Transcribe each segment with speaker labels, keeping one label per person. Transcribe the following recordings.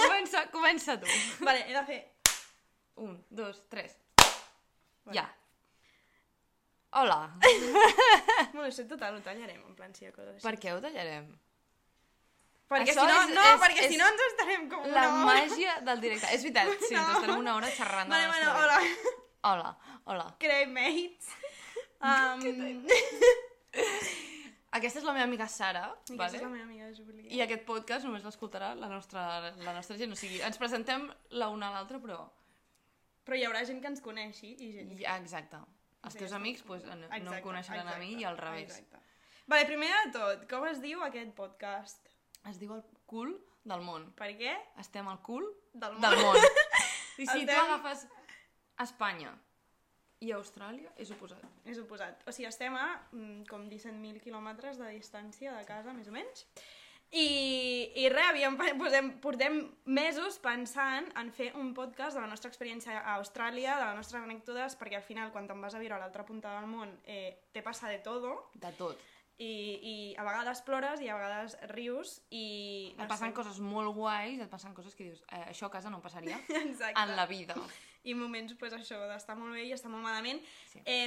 Speaker 1: comença, comença tu.
Speaker 2: Vale, he de fer...
Speaker 1: Un, dos, tres.
Speaker 2: Vale.
Speaker 1: Ja. Hola.
Speaker 2: Bueno, això total ho tallarem, en plan, si hi ha coses així.
Speaker 1: Per què ho tallarem?
Speaker 2: Perquè
Speaker 1: Això
Speaker 2: si no,
Speaker 1: és-
Speaker 2: no,
Speaker 1: és-
Speaker 2: perquè
Speaker 1: és
Speaker 2: si no ens estarem com
Speaker 1: La
Speaker 2: una hora.
Speaker 1: màgia del directe. És veritat, sí,
Speaker 2: Una
Speaker 1: no. estarem
Speaker 2: hora.
Speaker 1: una hora xerrant. de
Speaker 2: Vale,
Speaker 1: la
Speaker 2: bueno,
Speaker 1: nostra
Speaker 2: hola.
Speaker 1: vida. Hola, hola.
Speaker 2: Great mates. Um,
Speaker 1: Aquesta és la meva amiga Sara,
Speaker 2: vale.
Speaker 1: vale?
Speaker 2: és la meva amiga Júlia.
Speaker 1: i aquest podcast només l'escoltarà la nostra, la nostra gent. O sigui, ens presentem la una a l'altra, però...
Speaker 2: Però hi haurà gent que ens coneixi i gent...
Speaker 1: Ja, exacte. Els
Speaker 2: Sí,
Speaker 1: teus
Speaker 2: ja està.
Speaker 1: amics pues, no, no em coneixeran a mi i al revés.
Speaker 2: Exacte. Vale, primer de tot, com es diu aquest podcast?
Speaker 1: Es diu el cul del món.
Speaker 2: Per què?
Speaker 1: Estem al cul
Speaker 2: Del món.
Speaker 1: del món. I si
Speaker 2: Estem-
Speaker 1: tu agafes Espanya i Austràlia, és oposat.
Speaker 2: És oposat. O sigui, estem a mm, com 17.000 quilòmetres de distància de casa, més o menys. I, i res, havíem, pe- posem, portem mesos pensant en fer un podcast de la nostra experiència a Austràlia, de les nostres anècdotes, perquè al final, quan te'n vas a viure a l'altra punta del món, eh, te passa de todo,
Speaker 1: De tot.
Speaker 2: i, i a vegades plores i a vegades rius, i...
Speaker 1: Et passen coses molt guais, et passen coses que dius, eh, això a casa no em passaria
Speaker 2: Exacte.
Speaker 1: en la vida.
Speaker 2: i moments, pues, això, d'estar molt bé i estar molt malament.
Speaker 1: Sí.
Speaker 2: Sí.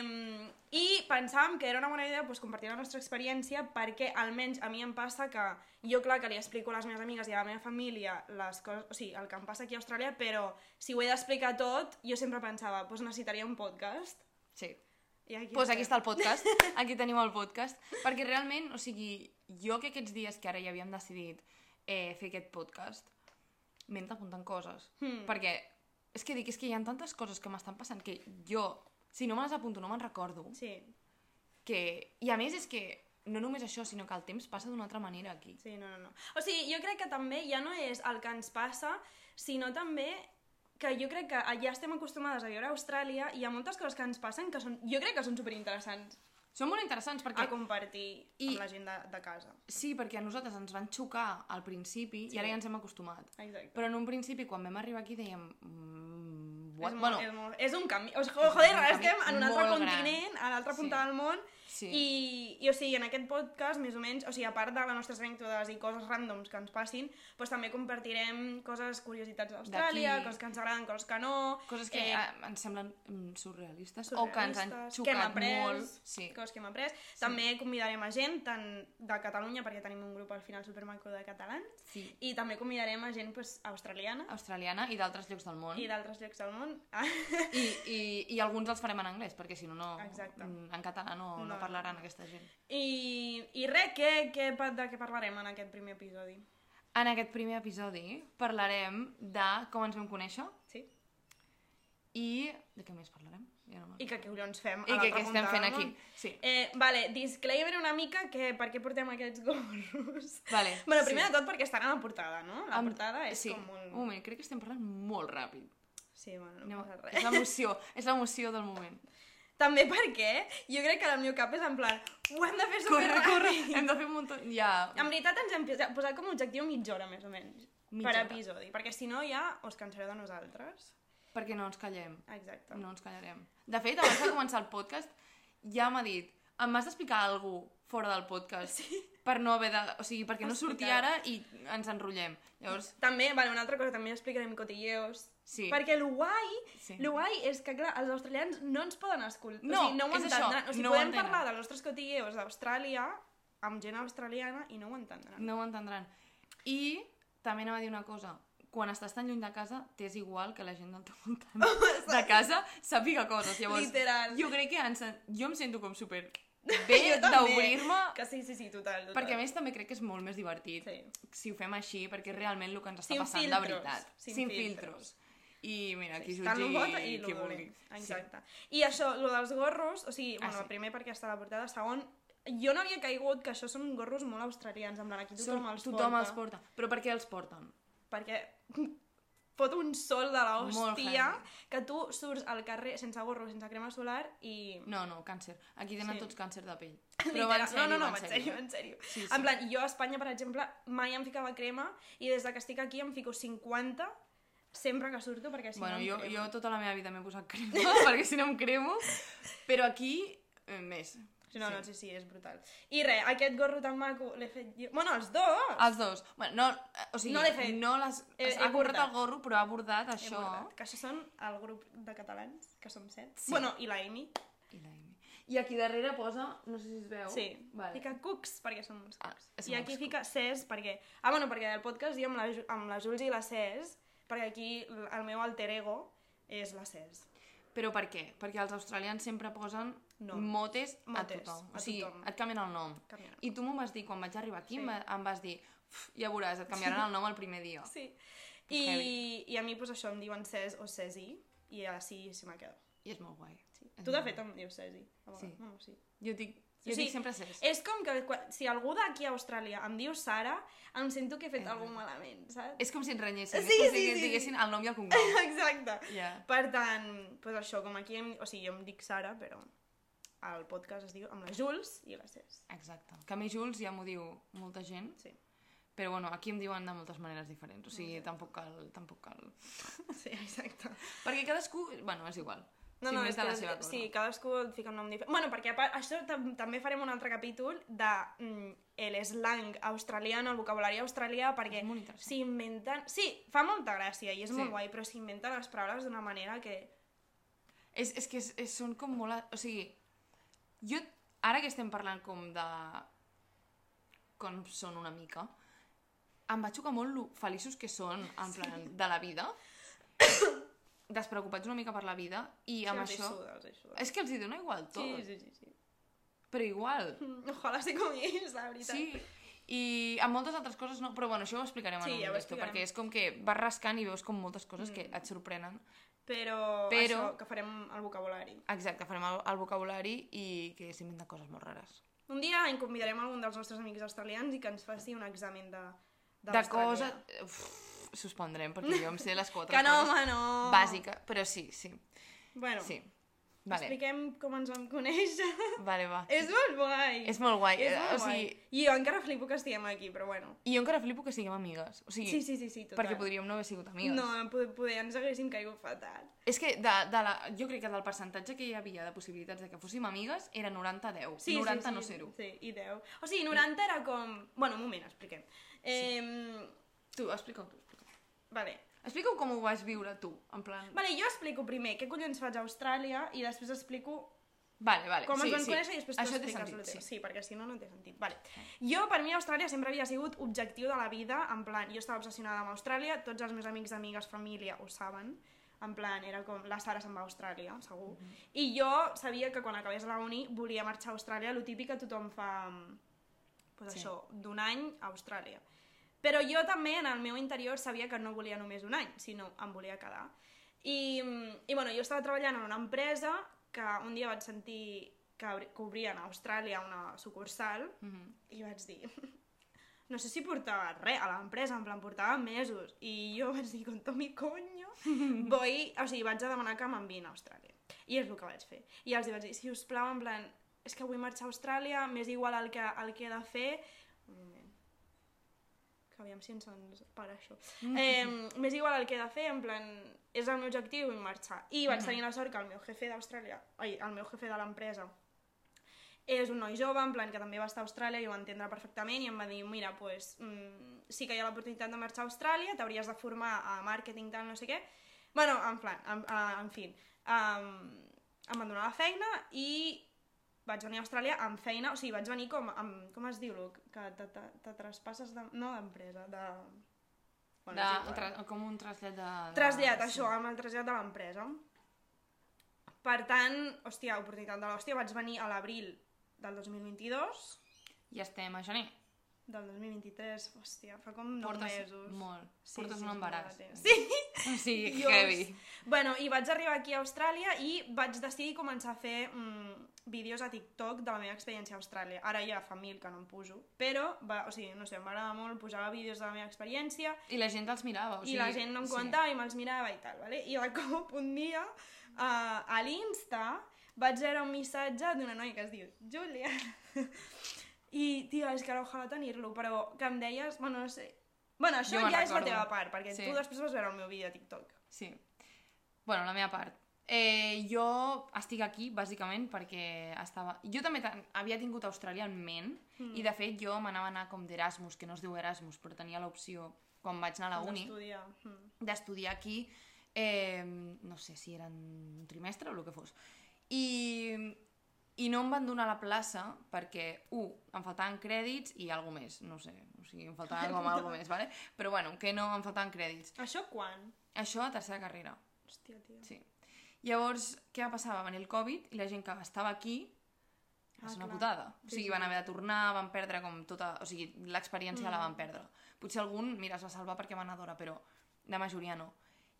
Speaker 2: I pensàvem que era una bona idea pues, compartir la nostra experiència perquè almenys a mi em passa que jo, clar, que li explico a les meves amigues i a la meva família les coses, o sigui, el que em passa aquí a Austràlia, però si ho he d'explicar tot, jo sempre pensava, pues, necessitaria un podcast.
Speaker 1: Sí.
Speaker 2: I aquí,
Speaker 1: Doncs pues aquí està
Speaker 2: estem.
Speaker 1: el podcast, aquí tenim el podcast, perquè realment, o sigui, jo que aquests dies que ara ja havíem decidit eh, fer aquest podcast, m'he anat apuntant coses,
Speaker 2: Hmm.
Speaker 1: perquè és que dic, és que hi ha tantes coses que m'estan passant que jo, si no me les apunto, no me'n recordo,
Speaker 2: Sí,
Speaker 1: que... i a més és que no només això, sinó que el temps passa d'una altra manera aquí.
Speaker 2: sí, no, no, no. O sigui, jo crec que també ja no és el que ens passa, sinó també que jo crec que ja estem acostumades a viure a Austràlia i hi ha moltes coses que ens passen que són, jo crec que són superinteressants.
Speaker 1: Són molt interessants perquè...
Speaker 2: a compartir
Speaker 1: Ah. I-
Speaker 2: I... amb la gent de, de casa.
Speaker 1: Sí, perquè a nosaltres ens van xocar al principi sí. i ara ja ens hem acostumat.
Speaker 2: Exacte.
Speaker 1: Però en un principi, quan vam arribar aquí, dèiem... Mm,
Speaker 2: És,
Speaker 1: what?
Speaker 2: molt,
Speaker 1: bueno,
Speaker 2: és, molt, és un canvi. O sigui, joder,
Speaker 1: un
Speaker 2: ara
Speaker 1: canvi
Speaker 2: estem en un altre
Speaker 1: molt gran.
Speaker 2: continent, a l'altra punta
Speaker 1: Sí.
Speaker 2: del món,
Speaker 1: Sí.
Speaker 2: i, i o sigui, en aquest podcast, més o menys, o sigui, a part de les nostres anècdotes i coses ràndoms que ens passin, doncs també compartirem coses, curiositats d'Austràlia,
Speaker 1: D'aquí.
Speaker 2: coses que ens agraden, coses que no...
Speaker 1: Coses que
Speaker 2: eh,
Speaker 1: eh, ens semblen mm, surrealistes, o que ens han
Speaker 2: surrealistes, que hem
Speaker 1: xocat
Speaker 2: après,
Speaker 1: molt. Sí.
Speaker 2: coses que hem après. També convidarem a gent tant de Catalunya, perquè tenim un grup al final supermacro de catalans,
Speaker 1: sí.
Speaker 2: i també convidarem a gent pues, australiana,
Speaker 1: Ah. Australiana i d'altres llocs del món.
Speaker 2: i
Speaker 1: I,
Speaker 2: d'altres llocs del món.
Speaker 1: I, i, I alguns els farem en anglès, perquè si no, no
Speaker 2: Exacte.
Speaker 1: mm, en català no, no,
Speaker 2: No.
Speaker 1: no parlaran aquesta gent.
Speaker 2: I, i res, què, què, pa- de què parlarem en aquest primer episodi?
Speaker 1: En aquest primer episodi parlarem de com ens vam conèixer
Speaker 2: Sí?
Speaker 1: i... De què més parlarem? Ja no me'n-
Speaker 2: I que què collons
Speaker 1: I
Speaker 2: fem a
Speaker 1: que,
Speaker 2: l'altra
Speaker 1: que estem
Speaker 2: punta
Speaker 1: fent
Speaker 2: del
Speaker 1: aquí.
Speaker 2: món?
Speaker 1: Sí.
Speaker 2: Eh, vale, disclaimer una mica que per què portem aquests gorros.
Speaker 1: Vale.
Speaker 2: Bueno,
Speaker 1: sí.
Speaker 2: primer de tot perquè estan a la portada, no? La
Speaker 1: Amb-
Speaker 2: portada és
Speaker 1: sí.
Speaker 2: com
Speaker 1: Un
Speaker 2: molt...
Speaker 1: moment, crec que estem parlant molt ràpid.
Speaker 2: Sí, bueno, no,
Speaker 1: No,
Speaker 2: passa
Speaker 1: és
Speaker 2: res.
Speaker 1: l'emoció, és l'emoció del moment.
Speaker 2: També perquè jo crec que el meu cap és en plan ho hem de fer superràpid.
Speaker 1: Hem de fer un munt... Ja...
Speaker 2: En veritat ens hem pisa- posat com a objectiu mitja hora, més o menys,
Speaker 1: Mitja
Speaker 2: per
Speaker 1: hora.
Speaker 2: episodi, perquè si no ja us cansareu de nosaltres.
Speaker 1: Perquè no ens callem.
Speaker 2: Exacte.
Speaker 1: No ens callarem. De fet, abans de començar el podcast, ja m'ha dit, em vas d'explicar alguna fora del podcast sí. per no haver de... O sigui, perquè no surti
Speaker 2: Explicar.
Speaker 1: ara i ens enrotllem. Llavors,
Speaker 2: També, vale, una altra cosa, també explicarem cotilleos.
Speaker 1: Sí.
Speaker 2: Perquè el guai,
Speaker 1: Sí.
Speaker 2: sí. el guai és que, clar, els australians no ens poden escoltar.
Speaker 1: No,
Speaker 2: o sigui, no ho
Speaker 1: és això,
Speaker 2: entendran. O sigui,
Speaker 1: no ho
Speaker 2: podem
Speaker 1: entenen.
Speaker 2: parlar dels nostres cotilleos d'Austràlia amb gent australiana i no ho entendran.
Speaker 1: no ho entendran. I també anava a dir una cosa. Quan estàs tan lluny de casa, t'és igual que la gent del teu voltant de casa sàpiga coses. Llavors,
Speaker 2: Literal.
Speaker 1: jo crec que ens, jo em sento com super bé
Speaker 2: Jo també.
Speaker 1: d'obrir-me
Speaker 2: Que sí, sí, sí, total, total.
Speaker 1: Perquè a més també crec que és molt més divertit
Speaker 2: Sí.
Speaker 1: si ho fem així, perquè realment el que ens està
Speaker 2: Sin
Speaker 1: passant de
Speaker 2: filtros,
Speaker 1: veritat.
Speaker 2: sin
Speaker 1: filtros. I mira, qui
Speaker 2: Tant
Speaker 1: jutgi
Speaker 2: lo bot i lo
Speaker 1: qui vulgui.
Speaker 2: dolent. Exacte. I això, lo dels gorros, o sigui,
Speaker 1: Ah,
Speaker 2: bueno,
Speaker 1: sí.
Speaker 2: primer perquè està a la portada, segon, jo no havia caigut que això són gorros molt australians, en plan, aquí
Speaker 1: Sí.
Speaker 2: tothom
Speaker 1: Són-
Speaker 2: els
Speaker 1: tothom
Speaker 2: porta.
Speaker 1: els porta. Però per què els porten?
Speaker 2: perquè fot un sol de
Speaker 1: Molt
Speaker 2: l'hòstia
Speaker 1: heavy.
Speaker 2: que tu surts al carrer sense gorro, sense crema solar i...
Speaker 1: No, no, càncer. Aquí tenen
Speaker 2: Sí.
Speaker 1: tots càncer de pell.
Speaker 2: Literal.
Speaker 1: Mm. Però va en sèrio,
Speaker 2: no, no, no,
Speaker 1: va en sèrio. eh?
Speaker 2: en sèrio.
Speaker 1: Sí, sí.
Speaker 2: En plan, jo a Espanya, per exemple, mai em ficava crema i des de que estic aquí em fico 50 sempre que surto perquè si
Speaker 1: Bueno,
Speaker 2: no em
Speaker 1: jo,
Speaker 2: crema.
Speaker 1: jo tota la meva vida m'he posat crema, perquè si no em cremo. Però aquí, eh, més.
Speaker 2: Sí, no,
Speaker 1: Sí.
Speaker 2: sí. no, sí, sí, és brutal. I res, aquest gorro tan maco l'he fet jo... Bueno, els dos!
Speaker 1: Els dos. Bueno, no, eh, o sigui,
Speaker 2: No l'he fet.
Speaker 1: No les...
Speaker 2: He- he
Speaker 1: ha borrat
Speaker 2: bordat.
Speaker 1: el gorro, però ha bordat
Speaker 2: He
Speaker 1: això.
Speaker 2: bordat, Que això són el grup de catalans, que som set.
Speaker 1: Sí.
Speaker 2: Sí. Bueno, i la Amy.
Speaker 1: I la Amy. I aquí darrere posa, no sé si es veu.
Speaker 2: Sí.
Speaker 1: Oh, Vale.
Speaker 2: Fica cucs, perquè som uns
Speaker 1: Ah,
Speaker 2: cucs.
Speaker 1: som
Speaker 2: I
Speaker 1: uns
Speaker 2: aquí
Speaker 1: cucs.
Speaker 2: fica Cés, perquè... Ah, bueno, perquè el podcast jo amb la, Ju- amb la Jules i la Cés, perquè aquí l- el meu alter ego és la Cés.
Speaker 1: Però per què? Perquè els australians sempre posen
Speaker 2: No.
Speaker 1: motes,
Speaker 2: Motes,
Speaker 1: a tothom.
Speaker 2: a
Speaker 1: O sigui,
Speaker 2: tothom.
Speaker 1: et canvien el nom.
Speaker 2: Canvien el
Speaker 1: I tu m'ho vas dir quan vaig arribar aquí,
Speaker 2: Sí.
Speaker 1: sí. em vas dir, "Uf, ja veuràs, et canviaran el nom el primer dia.
Speaker 2: Sí.
Speaker 1: Heavy.
Speaker 2: I, I a mi, pues, això, em diuen Cés o Cesi, i així se m'ha quedat.
Speaker 1: I és molt guai.
Speaker 2: Sí.
Speaker 1: És
Speaker 2: Tu, de
Speaker 1: molt
Speaker 2: fet,
Speaker 1: guai.
Speaker 2: em dius Cesi. a vegades.
Speaker 1: Sí.
Speaker 2: Bueno, sí.
Speaker 1: Jo dic, jo
Speaker 2: O sigui,
Speaker 1: dic sempre Cesc.
Speaker 2: És com que quan, si algú d'aquí a Austràlia em diu Sara, em sento que he fet
Speaker 1: Eh.
Speaker 2: alguna cosa malament, saps?
Speaker 1: És com si ens renyessin, és
Speaker 2: Sí,
Speaker 1: com
Speaker 2: sí,
Speaker 1: si ens
Speaker 2: sí.
Speaker 1: diguessin el nom i el cognom.
Speaker 2: Exacte.
Speaker 1: Ja.
Speaker 2: Per tant, doncs això, com aquí, em, o sigui, jo em dic Sara, però el podcast es diu amb la Jules i la Cés.
Speaker 1: Exacte. Que a mi Jules ja m'ho diu molta gent,
Speaker 2: Sí.
Speaker 1: però bueno, aquí em diuen de moltes maneres diferents, o sigui, tampoc cal, tampoc cal.
Speaker 2: Sí, exacte.
Speaker 1: Perquè cadascú, bueno, és igual.
Speaker 2: No, no, és
Speaker 1: S'inventa
Speaker 2: que
Speaker 1: la seva cosa.
Speaker 2: sí, cadascú et fica un nom diferent. Bueno, perquè a part, això tam també farem un altre capítol de mm, l'eslang australiano, el vocabulari australià, perquè
Speaker 1: És molt interessant.
Speaker 2: s'inventen... Sí, fa molta gràcia i és
Speaker 1: Sí.
Speaker 2: molt guai, però s'inventen les paraules d'una manera que...
Speaker 1: És, és que és, és, són com molt... a- O sigui, jo... Ara que estem parlant com de... Com són una mica, em vaig xocar molt lo feliços que són, en plan, de la vida. despreocupats una mica per la vida i amb
Speaker 2: Sí, els
Speaker 1: això...
Speaker 2: ajuda, els ajuda.
Speaker 1: És que els hi dona igual tot,
Speaker 2: Sí, sí, sí, sí.
Speaker 1: però igual.
Speaker 2: Mm, Ojalà ser com ells, la veritat.
Speaker 1: Sí, i amb moltes altres coses no, però bueno, això ho explicarem
Speaker 2: Sí,
Speaker 1: en un
Speaker 2: ja ho
Speaker 1: d'esto,
Speaker 2: explicarem. Mm.
Speaker 1: perquè és com que vas rascant i veus com moltes coses que et sorprenen.
Speaker 2: Però,
Speaker 1: Però-
Speaker 2: això, que farem el vocabulari.
Speaker 1: Exacte, farem el, el vocabulari i que s'inventen coses molt rares.
Speaker 2: Un dia en convidarem algun dels nostres amics australians i que ens faci un examen de...
Speaker 1: De
Speaker 2: d'Austràlia.
Speaker 1: coses... Uf, suspendrem, perquè jo em sé les quatre
Speaker 2: Que no,
Speaker 1: coses
Speaker 2: home, no!
Speaker 1: bàsiques, però sí, sí,
Speaker 2: Bueno,
Speaker 1: sí. Vale,
Speaker 2: expliquem com ens vam conèixer.
Speaker 1: vale, va.
Speaker 2: és molt guai!
Speaker 1: És molt guai. eh,
Speaker 2: És
Speaker 1: o
Speaker 2: molt
Speaker 1: sigui,
Speaker 2: guai. I jo encara flipo que estiguem aquí, però bueno.
Speaker 1: I jo encara flipo que siguem amigues. O sigui,
Speaker 2: Sí, sí, sí, sí total.
Speaker 1: perquè podríem no haver sigut amigues.
Speaker 2: No, poder, poder ens haguéssim caigut fatal.
Speaker 1: És que de, de la, jo crec que del percentatge que hi havia de possibilitats de que fóssim amigues era 90-10.
Speaker 2: Sí,
Speaker 1: 90
Speaker 2: sí, sí,
Speaker 1: no 0.
Speaker 2: Sí, i 10. O sigui, 90 era com... Bueno, un moment, expliquem. Eh,
Speaker 1: Tu, explica-ho tu. Explica.
Speaker 2: Vale.
Speaker 1: Explica-ho com ho vas viure tu, en plan...
Speaker 2: Vale, jo explico primer què collons faig a Austràlia i després explico
Speaker 1: Vale, vale.
Speaker 2: com
Speaker 1: sí,
Speaker 2: ens van
Speaker 1: sí.
Speaker 2: conèixer i després
Speaker 1: Això té
Speaker 2: t'expliques
Speaker 1: sentit,
Speaker 2: el teu.
Speaker 1: sí.
Speaker 2: Sí, perquè si no, no té sentit. Vale. Jo, per mi, Austràlia sempre havia sigut objectiu de la vida, en plan, jo estava obsessionada amb Austràlia, tots els meus amics, amigues, família ho saben, en plan, era com, la Sara se'n va a Austràlia, segur.
Speaker 1: Mm-hmm.
Speaker 2: I jo sabia que quan acabés la uni volia marxar a Austràlia, lo típic que tothom fa, mm, pues
Speaker 1: Sí.
Speaker 2: sí. això, d'un any a Austràlia. Però jo també, en el meu interior, sabia que no volia només un any, sinó em volia quedar. I, i bueno, jo estava treballant en una empresa que un dia vaig sentir que, obri- que obrien a Austràlia una sucursal
Speaker 1: Mhm.
Speaker 2: i vaig dir... No sé si portava res a l'empresa, en plan, portava mesos. I jo vaig dir, con todo mi coño, voy... O sigui, vaig a demanar que m'enviïn a Austràlia. I és el que vaig fer. I els hi vaig dir, si us plau, en plan, és que vull marxar a Austràlia, m'és igual el que, el que he de fer. Un moment. Que aviam si ens ens para això.
Speaker 1: Mm-hmm.
Speaker 2: Eh, m'és igual el que he de fer, en plan, és el meu objectiu i vull marxar. I vaig tenir la sort que el meu jefe d'Austràlia, ai, el meu jefe de l'empresa, és un noi jove, en plan que també va estar a Austràlia i ho va entendre perfectament i em va dir, mira, pues, mm, sí que hi ha l'oportunitat de marxar a Austràlia, t'hauries de formar a màrqueting, tal, no sé què. Bueno, en plan, en, en, en fi, um, em van donar la feina i vaig venir a Austràlia amb feina, o sigui, vaig venir com, amb, com es diu, Luc? que te, te, te traspasses, de, no d'empresa, de...
Speaker 1: De,
Speaker 2: és igual.
Speaker 1: un tra- com un trasllat de... de...
Speaker 2: Trasllat,
Speaker 1: sí.
Speaker 2: això, amb el trasllat de l'empresa. Per tant, hòstia, oportunitat de l'hòstia, vaig venir a l'abril del 2022,
Speaker 1: I estem a gener.
Speaker 2: del 2023, hòstia, fa com 9 mesos.
Speaker 1: Molt. Portes un
Speaker 2: és molt
Speaker 1: embaràs.
Speaker 2: de temps. Sí,
Speaker 1: O sigui,
Speaker 2: Dios.
Speaker 1: heavy.
Speaker 2: Bueno, i vaig arribar aquí a Austràlia i vaig decidir començar a fer mm, vídeos a TikTok de la meva experiència a Austràlia. Ara ja fa mil que no em pujo, però, va, o sigui, no sé, em va agradar molt posar vídeos de la meva experiència,
Speaker 1: I la gent els mirava, o
Speaker 2: I
Speaker 1: sigui...
Speaker 2: la gent no em comentava i me'ls mirava i tal, vale? I de cop un dia a, a l'Insta vaig veure un missatge d'una noia que es diu Julia. I, tia, és que ara ojalà tenir-lo, però que em deies... Bueno, no sé... Bueno, això
Speaker 1: Jo me'n
Speaker 2: ja és la
Speaker 1: recordo.
Speaker 2: teva part, perquè
Speaker 1: Sí.
Speaker 2: sí. tu després vas veure el meu vídeo a TikTok.
Speaker 1: Sí. sí. Bueno, la meva part. Eh, jo estic aquí, bàsicament, perquè estava... Jo també tan- havia tingut Austràlia en ment, mm. i de fet jo m'anava a anar com d'Erasmus, que no es diu Erasmus, però tenia l'opció quan vaig anar a la uni,
Speaker 2: D'estudiar. Mm.
Speaker 1: d'estudiar aquí, eh, no sé si eren un trimestre o el que fos. I, I no em van donar la plaça perquè, u, em faltaven crèdits i alguna més, no ho sé, o sigui, em faltava com alguna més, vale? però bueno, que no em faltaven crèdits.
Speaker 2: Això quan?
Speaker 1: Això a tercera carrera.
Speaker 2: Hòstia, tio.
Speaker 1: Sí. Llavors, què va passar? Va venir el Covid i la gent que estava aquí va
Speaker 2: Ah,
Speaker 1: ser una
Speaker 2: clar.
Speaker 1: putada. O
Speaker 2: Sí,
Speaker 1: sigui,
Speaker 2: sí.
Speaker 1: van haver de tornar, van perdre com tota... O sigui, l'experiència mm. la van perdre. Potser algun, mira, es va salvar perquè va anar d'hora, però la majoria no.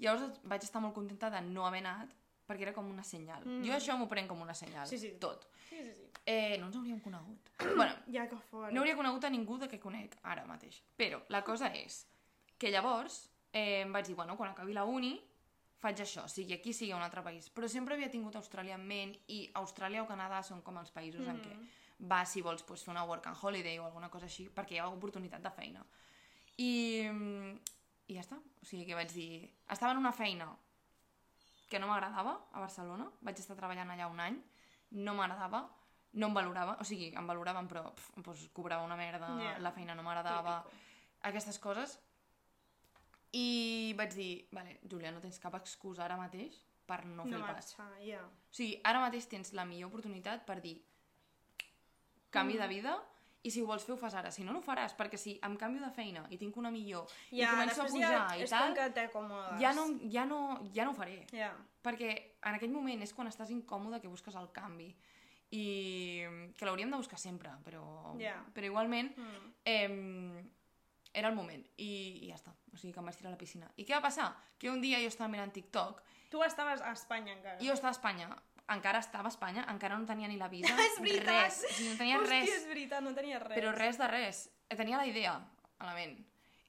Speaker 1: Llavors vaig estar molt contenta de no haver anat perquè era com una senyal.
Speaker 2: Mm.
Speaker 1: Jo això m'ho prenc com una senyal.
Speaker 2: Sí, sí.
Speaker 1: Tot.
Speaker 2: Sí, sí, sí.
Speaker 1: Eh, no ens hauríem conegut. bueno,
Speaker 2: Ja que fort.
Speaker 1: no hauria conegut a ningú de que conec ara mateix. Però la cosa és que llavors eh, em vaig dir, bueno, quan acabi la uni faig això, sigui aquí, sigui a un altre país. Però sempre havia tingut Austràlia en ment i Austràlia o Canadà són com els països mm -hmm. en què va, si vols, pues, fer una work and holiday o alguna cosa així, perquè hi ha oportunitat de feina. I, mm, i ja està. O sigui que vaig dir... Estava en una feina que no m'agradava a Barcelona, vaig estar treballant allà un any, no m'agradava, no em valorava, o sigui, em valoraven però pf, doncs, cobrava una merda,
Speaker 2: Ja.
Speaker 1: la feina no m'agradava,
Speaker 2: Típico.
Speaker 1: aquestes coses. I vaig dir, vale, Julia, no tens cap excusa ara mateix per no fer el
Speaker 2: No
Speaker 1: pas.
Speaker 2: marxar, ja.
Speaker 1: O sigui, ara mateix tens la millor oportunitat per dir canvi
Speaker 2: Mm.
Speaker 1: de vida i si ho vols fer ho fas ara, si no, no ho faràs, perquè si em canvio de feina i tinc una millor i
Speaker 2: Ja,
Speaker 1: començo a
Speaker 2: després
Speaker 1: pujar
Speaker 2: ja
Speaker 1: i
Speaker 2: és
Speaker 1: tal,
Speaker 2: com que t'acomodes.
Speaker 1: ja no, ja, no, ja no ho faré.
Speaker 2: Ja.
Speaker 1: Perquè en aquell moment és quan estàs incòmode que busques el canvi. I que l'hauríem de buscar sempre, però,
Speaker 2: Ja.
Speaker 1: però igualment
Speaker 2: Mm.
Speaker 1: eh, era el moment. I, I ja està. O sigui que em vaig tirar a la piscina. I què va passar? Que un dia jo estava mirant TikTok
Speaker 2: Tu estaves a Espanya encara.
Speaker 1: i jo estava a Espanya. Encara estava a Espanya, encara no tenia ni la visa.
Speaker 2: És veritat!
Speaker 1: Res. O sigui, no tenia
Speaker 2: Hòstia,
Speaker 1: res.
Speaker 2: és veritat, no tenia res.
Speaker 1: Però res de res. Eh, Tenia la idea a la ment.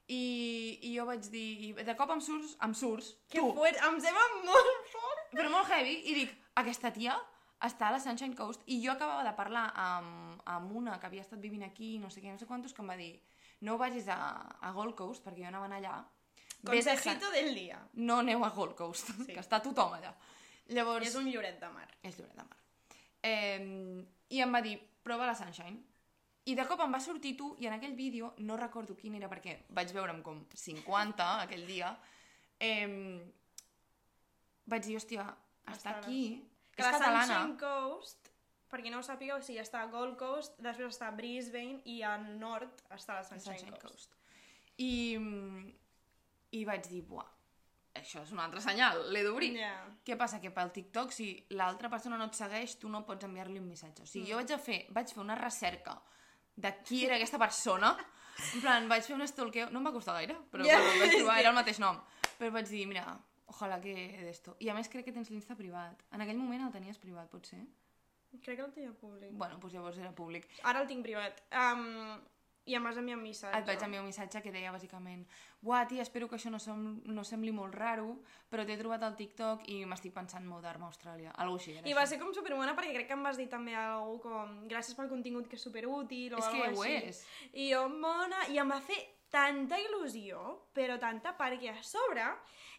Speaker 1: I, i jo vaig dir... i De cop em surts, em surts
Speaker 2: Que
Speaker 1: tu,
Speaker 2: fort, em sembla molt fort.
Speaker 1: però molt heavy, i dic, aquesta tia està a la Sunshine Coast, i jo acabava de parlar amb, amb una que havia estat vivint aquí, no sé què, no sé quantos, que em va dir, no vagis a, a Gold Coast, perquè jo anava a anar allà, Vés a Sun-
Speaker 2: Consejito del dia.
Speaker 1: no aneu a Gold Coast,
Speaker 2: Sí.
Speaker 1: sí. que està tothom allà. Llavors,
Speaker 2: És un lloret de mar.
Speaker 1: és Lloret de Mar. Eh, I em va dir, prova la Sunshine. I de cop em va sortir tu, i en aquell vídeo, no recordo quin era, perquè vaig veure'm com 50 aquell dia, eh, vaig dir, hòstia, està
Speaker 2: Ostres.
Speaker 1: aquí,
Speaker 2: Que
Speaker 1: és
Speaker 2: la
Speaker 1: catalana.
Speaker 2: Sunshine Coast, per qui no ho sàpiga, o sigui, està a Gold Coast, després està a Brisbane i al nord està la
Speaker 1: la
Speaker 2: Sunshine,
Speaker 1: Sunshine
Speaker 2: Coast.
Speaker 1: Coast. I, I vaig dir, buah, això és un altre senyal, l'he d'obrir.
Speaker 2: Ja.
Speaker 1: Què passa? Que pel TikTok, si l'altra persona no et segueix, tu no pots enviar-li un missatge. O sigui,
Speaker 2: Mm.
Speaker 1: jo vaig a fer, vaig fer una recerca de qui era aquesta persona. En plan, vaig fer un stalkeo... No em va costar gaire, però yeah,
Speaker 2: Ja,
Speaker 1: quan el vaig
Speaker 2: és
Speaker 1: trobar
Speaker 2: que-
Speaker 1: era el mateix nom. Però vaig dir, mira, ojalà que d'esto. I a més crec que tens l'Insta privat. En aquell moment el tenies privat, potser?
Speaker 2: Crec que el tenia públic.
Speaker 1: Bueno, doncs llavors era públic.
Speaker 2: Ara el tinc privat. Um, I em vas enviar un missatge.
Speaker 1: Et vaig enviar un missatge que deia bàsicament Buah, tia, espero que això no, som, no sembli molt raro, però t'he trobat al TikTok i m'estic pensant mudar-me a Austràlia. Algo així, era
Speaker 2: I va
Speaker 1: això.
Speaker 2: ser com superbona perquè crec que em vas dir també algú com gràcies pel contingut que és superútil o
Speaker 1: És que
Speaker 2: alguna
Speaker 1: ho
Speaker 2: cosa així.
Speaker 1: és.
Speaker 2: I jo, mona, i em va fer tanta il·lusió, però tanta perquè a sobre,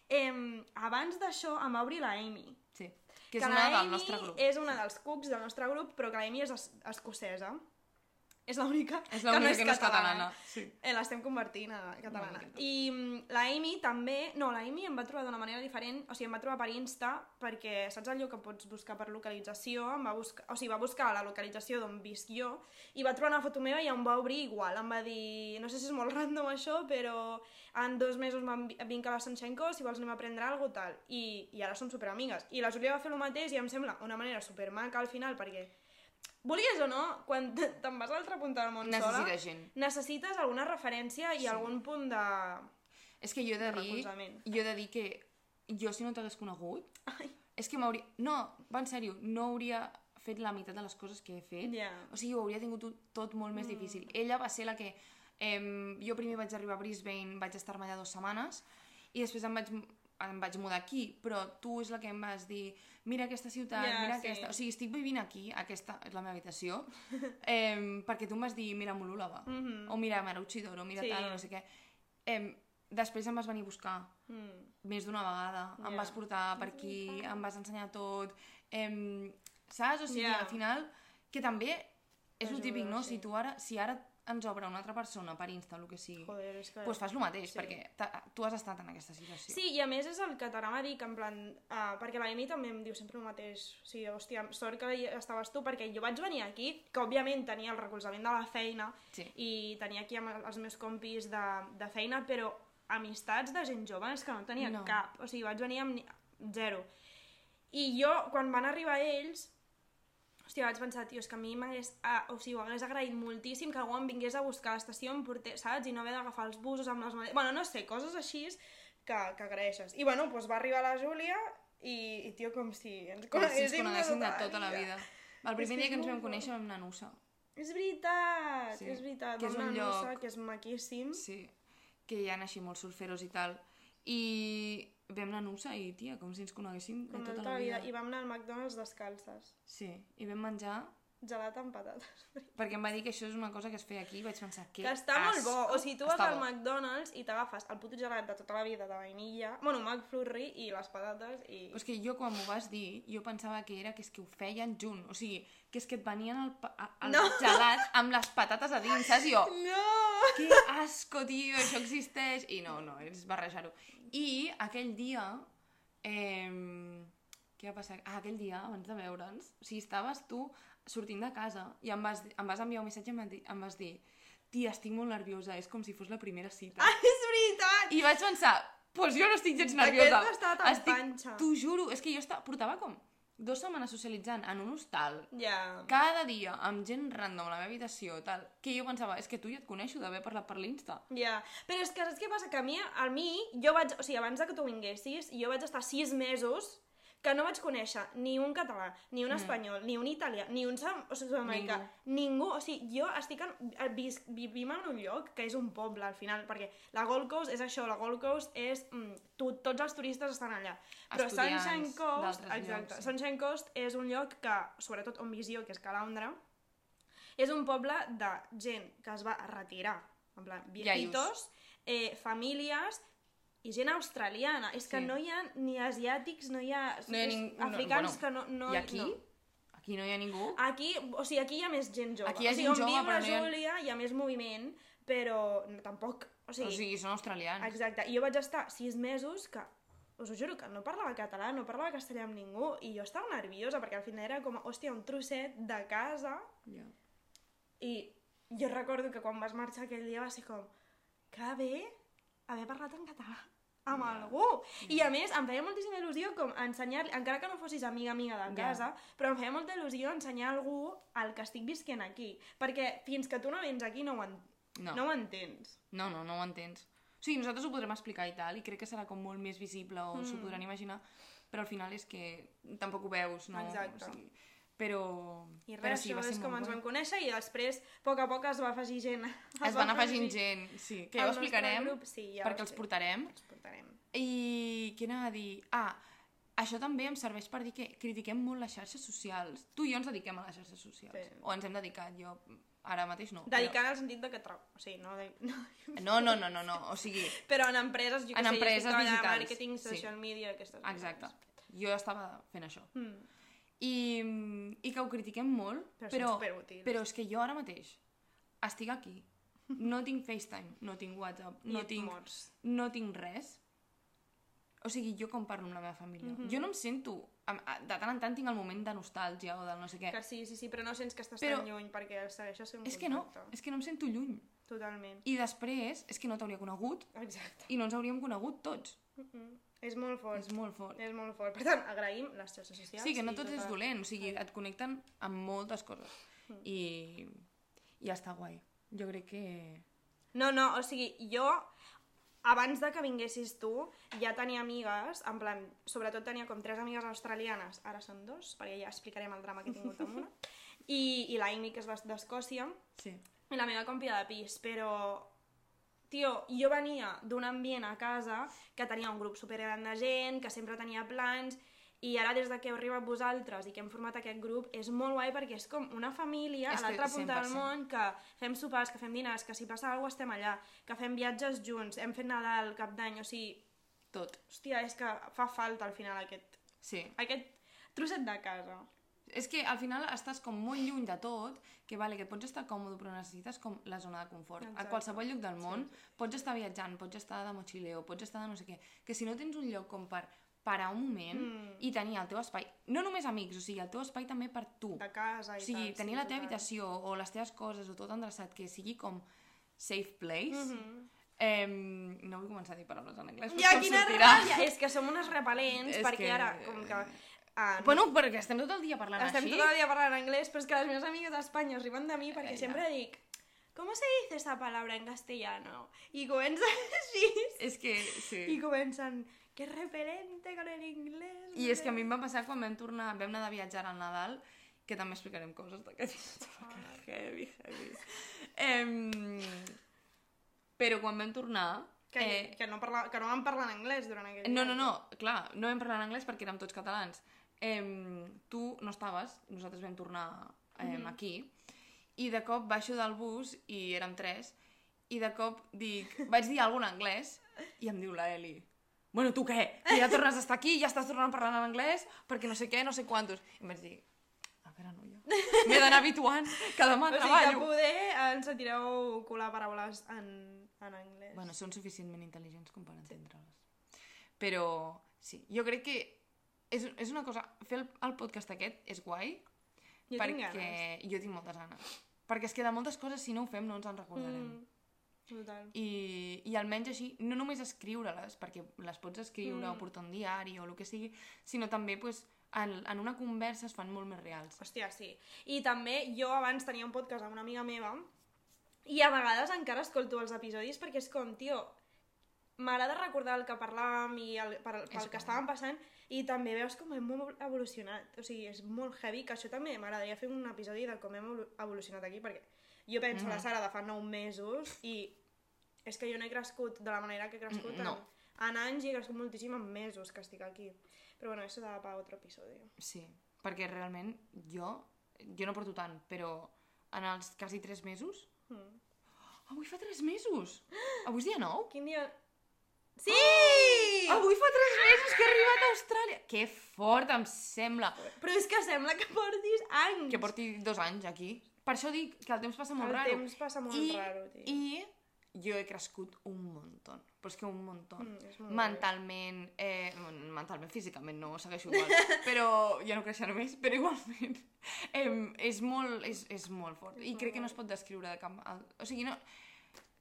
Speaker 2: em, abans d'això em va obrir la Amy.
Speaker 1: Sí. Que és una del nostre grup.
Speaker 2: és una dels cucs del nostre grup, però que la Amy és es escocesa. És l'única
Speaker 1: És l'única que, no és catalana.
Speaker 2: Eh, L'estem convertint a catalana.
Speaker 1: miqueta.
Speaker 2: I mm, la Amy també... No, la Amy em va trobar d'una manera diferent, o sigui, em va trobar per Insta, perquè saps allò que pots buscar per localització? Em va buscar, o sigui, va buscar la localització d'on visc jo, i va trobar una foto meva i em va obrir igual. Em va dir, no sé si és molt random això, però en dos mesos m'han- vinc a la Sunshine Coast, si vols anem a prendre alguna cosa, tal. I, I ara som superamigues. I la Júlia va fer el mateix i em sembla una manera supermaca al final, perquè... Vulguis o no, quan te- te'n vas a l'altra punta
Speaker 1: Doncs
Speaker 2: del món sola
Speaker 1: Necessita gent.
Speaker 2: necessites alguna referència i
Speaker 1: Sí.
Speaker 2: algun punt de...
Speaker 1: És que jo he de
Speaker 2: De
Speaker 1: dir...
Speaker 2: recolzament.
Speaker 1: Jo he de dir que jo si no t'hagués conegut... És que m'hauria... No, va en sèrio, no hauria fet la meitat de les coses que he fet.
Speaker 2: Ja.
Speaker 1: O sigui, ho hauria tingut tot molt
Speaker 2: Mm.
Speaker 1: més difícil. Ella va ser la que... Em, jo primer vaig arribar a Brisbane, vaig estar-me allà dues setmanes, i després em vaig em vaig mudar aquí, però tu és la que em vas dir mira aquesta ciutat,
Speaker 2: Ja,
Speaker 1: mira
Speaker 2: sí.
Speaker 1: aquesta... O sigui, estic vivint aquí, aquesta és la meva habitació, eh, perquè tu em vas dir mira Molúlava,
Speaker 2: Mhm.
Speaker 1: o mira Marauchidor, o mira
Speaker 2: Sí.
Speaker 1: tal, o no sé què. Em, Després em vas venir a buscar
Speaker 2: Mm.
Speaker 1: més d'una vegada. Em
Speaker 2: Ja.
Speaker 1: vas portar per aquí, em vas ensenyar tot. Em... Saps? O sigui,
Speaker 2: Ja.
Speaker 1: al final, que també és el
Speaker 2: T'ajuda,
Speaker 1: típic, no?
Speaker 2: sí.
Speaker 1: Si tu ara, si ara ens obre una altra persona per Insta, el que sigui, doncs
Speaker 2: Joder, és que...
Speaker 1: pues fas el mateix,
Speaker 2: Sí.
Speaker 1: perquè ta- tu has estat en aquesta situació.
Speaker 2: Sí, i a més és el que t'anava a dir, que en plan... Uh, perquè la Eni també em diu sempre el mateix. O sigui, hòstia, sort que hi estaves tu, perquè jo vaig venir aquí, que òbviament tenia el recolzament de la feina,
Speaker 1: Sí.
Speaker 2: i tenia aquí amb els meus compis de, de feina, però amistats de gent jove és que no tenia
Speaker 1: No.
Speaker 2: no. cap. O sigui, vaig venir amb ni- zero. I jo, quan van arribar ells, hòstia, vaig pensar, tio, és que a mi m'hagués... Ah, o sigui, ho hagués agraït moltíssim que algú em vingués a buscar a l'estació, em portés, saps? I no haver d'agafar els busos amb les maletes... Bueno, no sé, coses així que, que agraeixes. I bueno, doncs va arribar la Júlia i, i tio, com si ens
Speaker 1: Com si ens
Speaker 2: coneguéssim
Speaker 1: coneguéssim de tota la vida. El primer
Speaker 2: que
Speaker 1: dia
Speaker 2: és
Speaker 1: que ens
Speaker 2: molt
Speaker 1: vam
Speaker 2: bo.
Speaker 1: conèixer vam anar a Nusa.
Speaker 2: És veritat,
Speaker 1: Sí,
Speaker 2: sí. és veritat.
Speaker 1: que és
Speaker 2: Vam
Speaker 1: un
Speaker 2: anar a Nusa,
Speaker 1: lloc-
Speaker 2: Que és maquíssim.
Speaker 1: Sí, que hi ha així molts surferos i tal. I vam anar a Nusa i, tia, com si ens coneguéssim
Speaker 2: Com
Speaker 1: de tota
Speaker 2: tota
Speaker 1: la vida.
Speaker 2: I vam anar al McDonald's descalces.
Speaker 1: Sí, i vam menjar
Speaker 2: Gelat amb patates.
Speaker 1: perquè em va dir que això és una cosa que es feia aquí i vaig pensar que...
Speaker 2: Que està molt bo. O sigui, tu vas
Speaker 1: està
Speaker 2: al
Speaker 1: bo.
Speaker 2: McDonald's i t'agafes el puto gelat de tota la vida de vainilla, bueno, McFlurry i les patates i...
Speaker 1: Però és que jo quan m'ho vas dir, jo pensava que era que és que ho feien junt. O sigui, que és que et venien el, pa- a- el
Speaker 2: No.
Speaker 1: gelat amb les patates a dins, saps? I jo,
Speaker 2: No!
Speaker 1: que asco, tio, això existeix. I no, no, és barrejar-ho. I aquell dia... Eh, què va passar? Ah, aquell dia, abans de veure'ns, o sigui, estaves tu sortint de casa i em vas, em vas enviar un missatge i em, va dir- em vas dir tia, estic molt nerviosa, és com si fos la primera cita.
Speaker 2: Ah, és veritat!
Speaker 1: I vaig pensar, pues jo no estic gens
Speaker 2: Aquest
Speaker 1: nerviosa.
Speaker 2: no estava tan
Speaker 1: estic,
Speaker 2: panxa.
Speaker 1: T'ho juro, és que jo estava, portava com dues setmanes socialitzant en un hostal,
Speaker 2: Ja...
Speaker 1: cada dia amb gent random a la meva habitació, tal, que jo pensava, és que tu ja et coneixo d'haver parlat per l'Insta.
Speaker 2: Ja, però és que saps què passa? Que a mi, a mi, jo vaig, o sigui, abans de que tu vinguessis, jo vaig estar sis mesos que no vaig conèixer ni un català, ni
Speaker 1: Mm.
Speaker 2: un espanyol, ni un italià, ni un sam- o sigui, americà, ningú. ningú. O sigui, jo estic en, eh, vis, vivim en un lloc que és un poble, al final, perquè la Gold Coast és això, la Gold Coast és... Mm, tu, tots els turistes estan allà. Però
Speaker 1: Estudiants
Speaker 2: Sunshine Coast...
Speaker 1: d'altres
Speaker 2: Exacte,
Speaker 1: llocs, sí.
Speaker 2: Sunshine Coast és un lloc que, sobretot on visc jo, que és Calahondra, és un poble de gent que es va retirar, en plan, viejitos, eh, famílies i gent australiana. És que
Speaker 1: Sí.
Speaker 2: no hi ha ni asiàtics, no hi ha,
Speaker 1: No hi ha ning- no,
Speaker 2: africans
Speaker 1: bueno,
Speaker 2: que no... no
Speaker 1: I aquí?
Speaker 2: No. Ah,
Speaker 1: Aquí no hi ha ningú.
Speaker 2: Aquí, o sigui, aquí hi ha més gent jove.
Speaker 1: Aquí hi ha
Speaker 2: o sigui,
Speaker 1: gent
Speaker 2: on
Speaker 1: jove,
Speaker 2: viu
Speaker 1: però
Speaker 2: la
Speaker 1: no hi ha-
Speaker 2: Júlia hi ha més moviment, però no, tampoc... O
Speaker 1: O
Speaker 2: sigui,
Speaker 1: sigui, són australians.
Speaker 2: Exacte, i jo vaig estar sis mesos que, us ho juro, que no parlava català, no parlava castellà amb ningú, i jo estava nerviosa, perquè al final era com, hòstia, un trosset de casa,
Speaker 1: Ja.
Speaker 2: i jo recordo que quan vas marxar aquell dia va ser com, que bé haver parlat en català amb
Speaker 1: Ja.
Speaker 2: algú. I a més, em feia moltíssima il·lusió com ensenyar-li, encara que no fossis amiga amiga de
Speaker 1: Ja.
Speaker 2: casa, però em feia molta il·lusió ensenyar a algú el que estic visquent aquí. Perquè fins que tu no vens aquí no ho, en...
Speaker 1: No.
Speaker 2: no. ho entens.
Speaker 1: No, no, no ho entens. O sigui, nosaltres ho podrem explicar i tal, i crec que serà com molt més visible o mm. s'ho podran imaginar, però al final és que tampoc ho veus, no?
Speaker 2: Exacte.
Speaker 1: O sigui, però...
Speaker 2: I
Speaker 1: però
Speaker 2: res, sí, això
Speaker 1: ser
Speaker 2: és
Speaker 1: molt
Speaker 2: com ens
Speaker 1: guai.
Speaker 2: vam conèixer i després, a poc a poc, es va afegir gent.
Speaker 1: Es van afegint gent, sí, que ja ho
Speaker 2: al nostre
Speaker 1: explicarem,
Speaker 2: grup, sí, ja ho
Speaker 1: perquè els
Speaker 2: sé.
Speaker 1: portarem.
Speaker 2: Els portarem.
Speaker 1: I què anava a dir? Ah, això també em serveix per dir que critiquem molt les xarxes socials. Tu i jo ens dediquem a les xarxes socials.
Speaker 2: Sí.
Speaker 1: O ens hem dedicat, jo ara mateix no.
Speaker 2: Dedicant al sentit de que trobo. O sigui, no, de... no...
Speaker 1: Però... No, no, no, no, no. O sigui,
Speaker 2: Però en empreses, jo que
Speaker 1: En
Speaker 2: sé, jo estic
Speaker 1: empreses
Speaker 2: treballant a
Speaker 1: digitals,
Speaker 2: Màrqueting,
Speaker 1: sí.
Speaker 2: social media, aquestes coses.
Speaker 1: exacte. Jo estava fent això.
Speaker 2: Mm.
Speaker 1: I, i que ho critiquem molt,
Speaker 2: Però són
Speaker 1: però,
Speaker 2: superútils.
Speaker 1: però és que jo ara mateix estic aquí, no tinc FaceTime, no tinc WhatsApp,
Speaker 2: I
Speaker 1: no
Speaker 2: et
Speaker 1: tinc,
Speaker 2: mors.
Speaker 1: no tinc res. O sigui, jo com parlo amb la meva família.
Speaker 2: Mhm.
Speaker 1: Jo no em sento... em- a- De tant en tant tinc el moment de nostàlgia o del no sé què.
Speaker 2: Que sí, sí, sí, però no sents que estàs
Speaker 1: Però-
Speaker 2: tan lluny perquè segueixes sent
Speaker 1: És que no,
Speaker 2: contacte.
Speaker 1: és que no em sento lluny.
Speaker 2: Totalment.
Speaker 1: I després, és que no t'hauria conegut
Speaker 2: Exacte.
Speaker 1: i no ens hauríem conegut tots.
Speaker 2: Mm. És molt fort.
Speaker 1: És molt fort.
Speaker 2: És molt fort. Per tant, agraïm les xarxes socials.
Speaker 1: Sí, que no
Speaker 2: i
Speaker 1: tot és
Speaker 2: tota-
Speaker 1: dolent, o sigui, et connecten amb moltes coses.
Speaker 2: Mhm.
Speaker 1: I, i està guai. Jo crec que...
Speaker 2: No, no, o sigui, jo abans de que vinguessis tu ja tenia amigues, en plan, sobretot tenia com tres amigues australianes, ara són dos, perquè ja explicarem el drama que he tingut amb una, i, i la Amy, que és d'Es- d'Escòcia,
Speaker 1: Sí.
Speaker 2: i la meva compia de pis, però... Tio, jo venia d'un ambient a casa que tenia un grup supergran de gent, que sempre tenia plans, I ara, des de que heu arribat vosaltres i que hem format aquest grup, és molt guai perquè és com una família
Speaker 1: És
Speaker 2: a
Speaker 1: que
Speaker 2: l'altra punta del
Speaker 1: 100%.
Speaker 2: món que fem sopars, que fem dinars, que si passa alguna cosa estem allà, que fem viatges junts, hem fet Nadal, Cap d'Any, o sigui,
Speaker 1: Tot.
Speaker 2: hòstia, és que fa falta al final aquest,
Speaker 1: Sí.
Speaker 2: aquest trosset de casa.
Speaker 1: És que al final estàs com molt lluny de tot, que vale, que pots estar còmode, però necessites com la zona de confort. Exacte. A
Speaker 2: Exacte.
Speaker 1: qualsevol lloc del món pots estar viatjant, pots estar de motxileo, pots estar de no sé què, que si no tens un lloc com per parar un moment
Speaker 2: Mm.
Speaker 1: i tenir el teu espai, no només amics, o sigui, el teu espai també per tu.
Speaker 2: De casa
Speaker 1: O
Speaker 2: i
Speaker 1: sigui,
Speaker 2: tal.
Speaker 1: tenir
Speaker 2: sí,
Speaker 1: la teva
Speaker 2: total.
Speaker 1: habitació o les teves coses o tot endreçat, que sigui com safe place. Mm -hmm.
Speaker 2: Mhm.
Speaker 1: no vull començar a dir paraules en anglès,
Speaker 2: Ja,
Speaker 1: però em
Speaker 2: quina
Speaker 1: sortirà.
Speaker 2: ratlla! És que som unes repel·lents,
Speaker 1: És
Speaker 2: perquè
Speaker 1: que-
Speaker 2: ara, com que... Ah,
Speaker 1: Bueno, perquè estem tot el dia parlant
Speaker 2: Estem
Speaker 1: així.
Speaker 2: tot el dia parlant anglès, però és que les meves amigues d'Espanya es riuen de mi perquè
Speaker 1: Ja.
Speaker 2: sempre dic ¿Cómo se dice esta palabra en castellano? I comencen així.
Speaker 1: És que, sí.
Speaker 2: I comencen, que repelente con el inglés.
Speaker 1: I és que a mi em va passar quan vam tornar, vam anar de viatjar al Nadal, que també explicarem coses d'aquest viatge, perquè heavy, heavy. Em, però quan vam tornar...
Speaker 2: Que,
Speaker 1: eh,
Speaker 2: que, no parla, que no van parlar en anglès durant aquell
Speaker 1: no, no,
Speaker 2: dia.
Speaker 1: no, clar, no vam parlar en anglès perquè érem tots catalans. Em, tu no estaves, nosaltres vam tornar em,
Speaker 2: Mhm.
Speaker 1: aquí, i de cop baixo del bus, i érem tres, i de cop dic, vaig dir alguna en anglès, i em diu la Eli, bueno, tu què? Que ja tornes a estar aquí, ja estàs tornant a parlar en anglès, perquè no sé què, no sé quantos. I em vaig dir, "Ah, a veure, noia, m'he d'anar habituant, que demà
Speaker 2: O sigui, que
Speaker 1: treballo.
Speaker 2: poder eh, ens sentireu colar paraules en, en anglès.
Speaker 1: Bueno, són suficientment intel·ligents com per entendre-les. Però sí, jo crec que és, és una cosa... Fer el, el podcast aquest és guai
Speaker 2: jo
Speaker 1: perquè
Speaker 2: tinc ganes.
Speaker 1: jo tinc moltes ganes. Perquè és que de moltes coses, si no ho fem, no ens en recordarem.
Speaker 2: Mm, total.
Speaker 1: I, I almenys així, no només escriure-les, perquè les pots escriure
Speaker 2: Mm.
Speaker 1: o portar un diari o el que sigui, sinó també pues, en, en una conversa es fan molt més reals.
Speaker 2: Hòstia, sí. I també jo abans tenia un podcast amb una amiga meva i a vegades encara escolto els episodis perquè és com, tio, m'agrada recordar el que parlàvem i el, per, pel que
Speaker 1: guai.
Speaker 2: estàvem passant i també veus com hem molt evolucionat. O sigui, és molt heavy, que això també m'agradaria fer un episodi de com hem evolu- evolucionat aquí perquè jo penso mm -hmm. la
Speaker 1: Mhm.
Speaker 2: Sara de fa 9 mesos i és que jo no he crescut de la manera que he crescut
Speaker 1: Mm, no.
Speaker 2: en, en anys i he crescut moltíssim en mesos que estic aquí. Però bueno, això dava per otro episodi.
Speaker 1: Sí, perquè realment jo... Jo no porto tant, però en els quasi tres mesos
Speaker 2: Mm.
Speaker 1: Avui fa 3 mesos! Avui és dia 9?
Speaker 2: Quin dia... Ah, Sí!
Speaker 1: Avui fa 3 mesos que he arribat a Austràlia! Que fort, em sembla!
Speaker 2: Però és que sembla que portis anys.
Speaker 1: Que porti dos anys aquí. Per això dic que el temps passa molt
Speaker 2: Mm. El
Speaker 1: raro.
Speaker 2: temps passa molt
Speaker 1: I,
Speaker 2: raro, tio.
Speaker 1: I jo he crescut un muntó. Però és que un muntó.
Speaker 2: Mm, és molt
Speaker 1: mentalment, eh, mentalment, físicament, no segueixo igual, però jo no creixeré més, però igualment eh, és, molt, és, és molt fort i crec que no es pot descriure de cap... al- O sigui, no,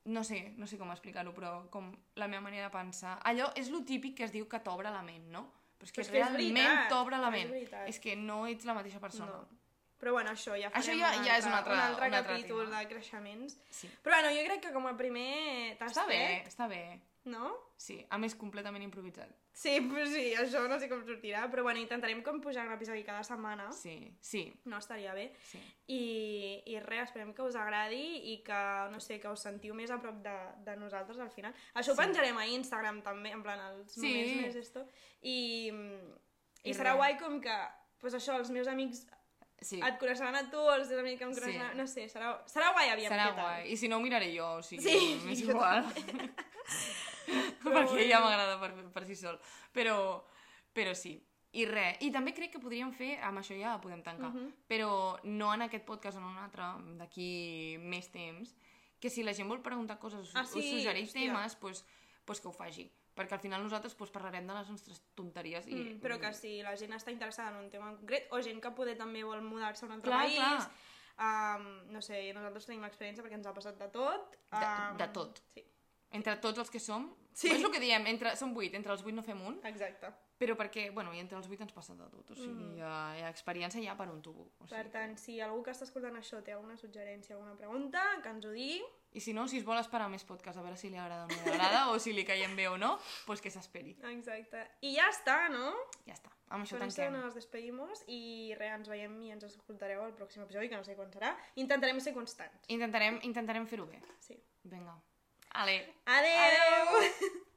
Speaker 1: no sé, no sé com explicar-ho, però com la meva manera de pensar... Allò és lo típic que es diu que t'obre la ment, no? Però és que,
Speaker 2: Però és que és
Speaker 1: realment
Speaker 2: veritat,
Speaker 1: t'obre la
Speaker 2: és
Speaker 1: ment.
Speaker 2: veritat.
Speaker 1: És que no ets la mateixa persona.
Speaker 2: No. Però bueno, això ja farem
Speaker 1: Això ja- ja és un altre-
Speaker 2: un altre
Speaker 1: un altre
Speaker 2: capítol
Speaker 1: tema.
Speaker 2: de creixements.
Speaker 1: Sí.
Speaker 2: Però bueno, jo crec que com a primer t'has
Speaker 1: Està bé,
Speaker 2: fet,
Speaker 1: està bé.
Speaker 2: no?
Speaker 1: Sí, a més completament improvisat.
Speaker 2: Sí, però sí, això no sé com sortirà, però bueno, intentarem com pujar un episodi cada setmana.
Speaker 1: Sí, sí,
Speaker 2: No estaria bé.
Speaker 1: sí.
Speaker 2: I, i res, esperem que us agradi i que, no sé, que us sentiu més a prop de, de nosaltres al final. Això ho
Speaker 1: Sí.
Speaker 2: penjarem a Instagram també, en plan els
Speaker 1: Sí.
Speaker 2: moments més esto. I, i,
Speaker 1: I
Speaker 2: serà
Speaker 1: res.
Speaker 2: guai com que, pues això, els meus amics
Speaker 1: Sí,
Speaker 2: et coneixeran a tu, els teus amics que em
Speaker 1: Sí.
Speaker 2: coneixeran... No sé, serà, serà guai aviam
Speaker 1: serà
Speaker 2: què tal.
Speaker 1: guai. I si no, ho miraré jo, o sigui,
Speaker 2: Sí,
Speaker 1: m'és
Speaker 2: jo
Speaker 1: igual.
Speaker 2: Però
Speaker 1: Perquè ja
Speaker 2: bueno.
Speaker 1: m'agrada per, per si sol. Però, però sí. I res, i també crec que podríem fer, amb això ja podem tancar,
Speaker 2: Mhm.
Speaker 1: però no en aquest podcast o en un altre, d'aquí més temps, que si la gent vol preguntar coses o
Speaker 2: Ah,
Speaker 1: ah,
Speaker 2: sí,
Speaker 1: sí, suggerir
Speaker 2: hòstia.
Speaker 1: temes, pues, pues que ho faci. Perquè al final nosaltres pues, parlarem de les nostres tonteries i...
Speaker 2: Mm, però que si la gent està interessada en un tema en concret, o gent que poder també vol mudar-se a un altre
Speaker 1: Clar,
Speaker 2: país...
Speaker 1: clar.
Speaker 2: Um, no sé, nosaltres tenim experiència perquè ens ha passat de tot.
Speaker 1: De-
Speaker 2: em,
Speaker 1: de tot.
Speaker 2: Sí,
Speaker 1: Entre tots els que som...
Speaker 2: Sí.
Speaker 1: Sí. És el que diem, entre, som vuit, entre els vuit no fem un,
Speaker 2: exacte.
Speaker 1: Però perquè, bueno, i entre els 8 ens passa de tot, o sigui,
Speaker 2: Mm.
Speaker 1: mm. hi, ha, hi ha experiència ja per un tubo. O sigui,
Speaker 2: Per tant, si algú que està escoltant això té alguna suggerència, alguna pregunta, que ens ho digui.
Speaker 1: I si no, si es vol esperar més podcast, a veure si li agrada o no li agrada, o si li caiem bé o no, doncs pues que s'esperi.
Speaker 2: Exacte. I ja està, no?
Speaker 1: Ja està, amb això
Speaker 2: Con esto
Speaker 1: tanquem.
Speaker 2: nos despedimos i res, ens veiem i ens escoltareu al pròxim episodi, que no sé quan serà. Intentarem ser constants.
Speaker 1: Intentarem, intentarem fer-ho bé.
Speaker 2: Sí.
Speaker 1: Vinga. Ale.
Speaker 2: Adeu! Adeu!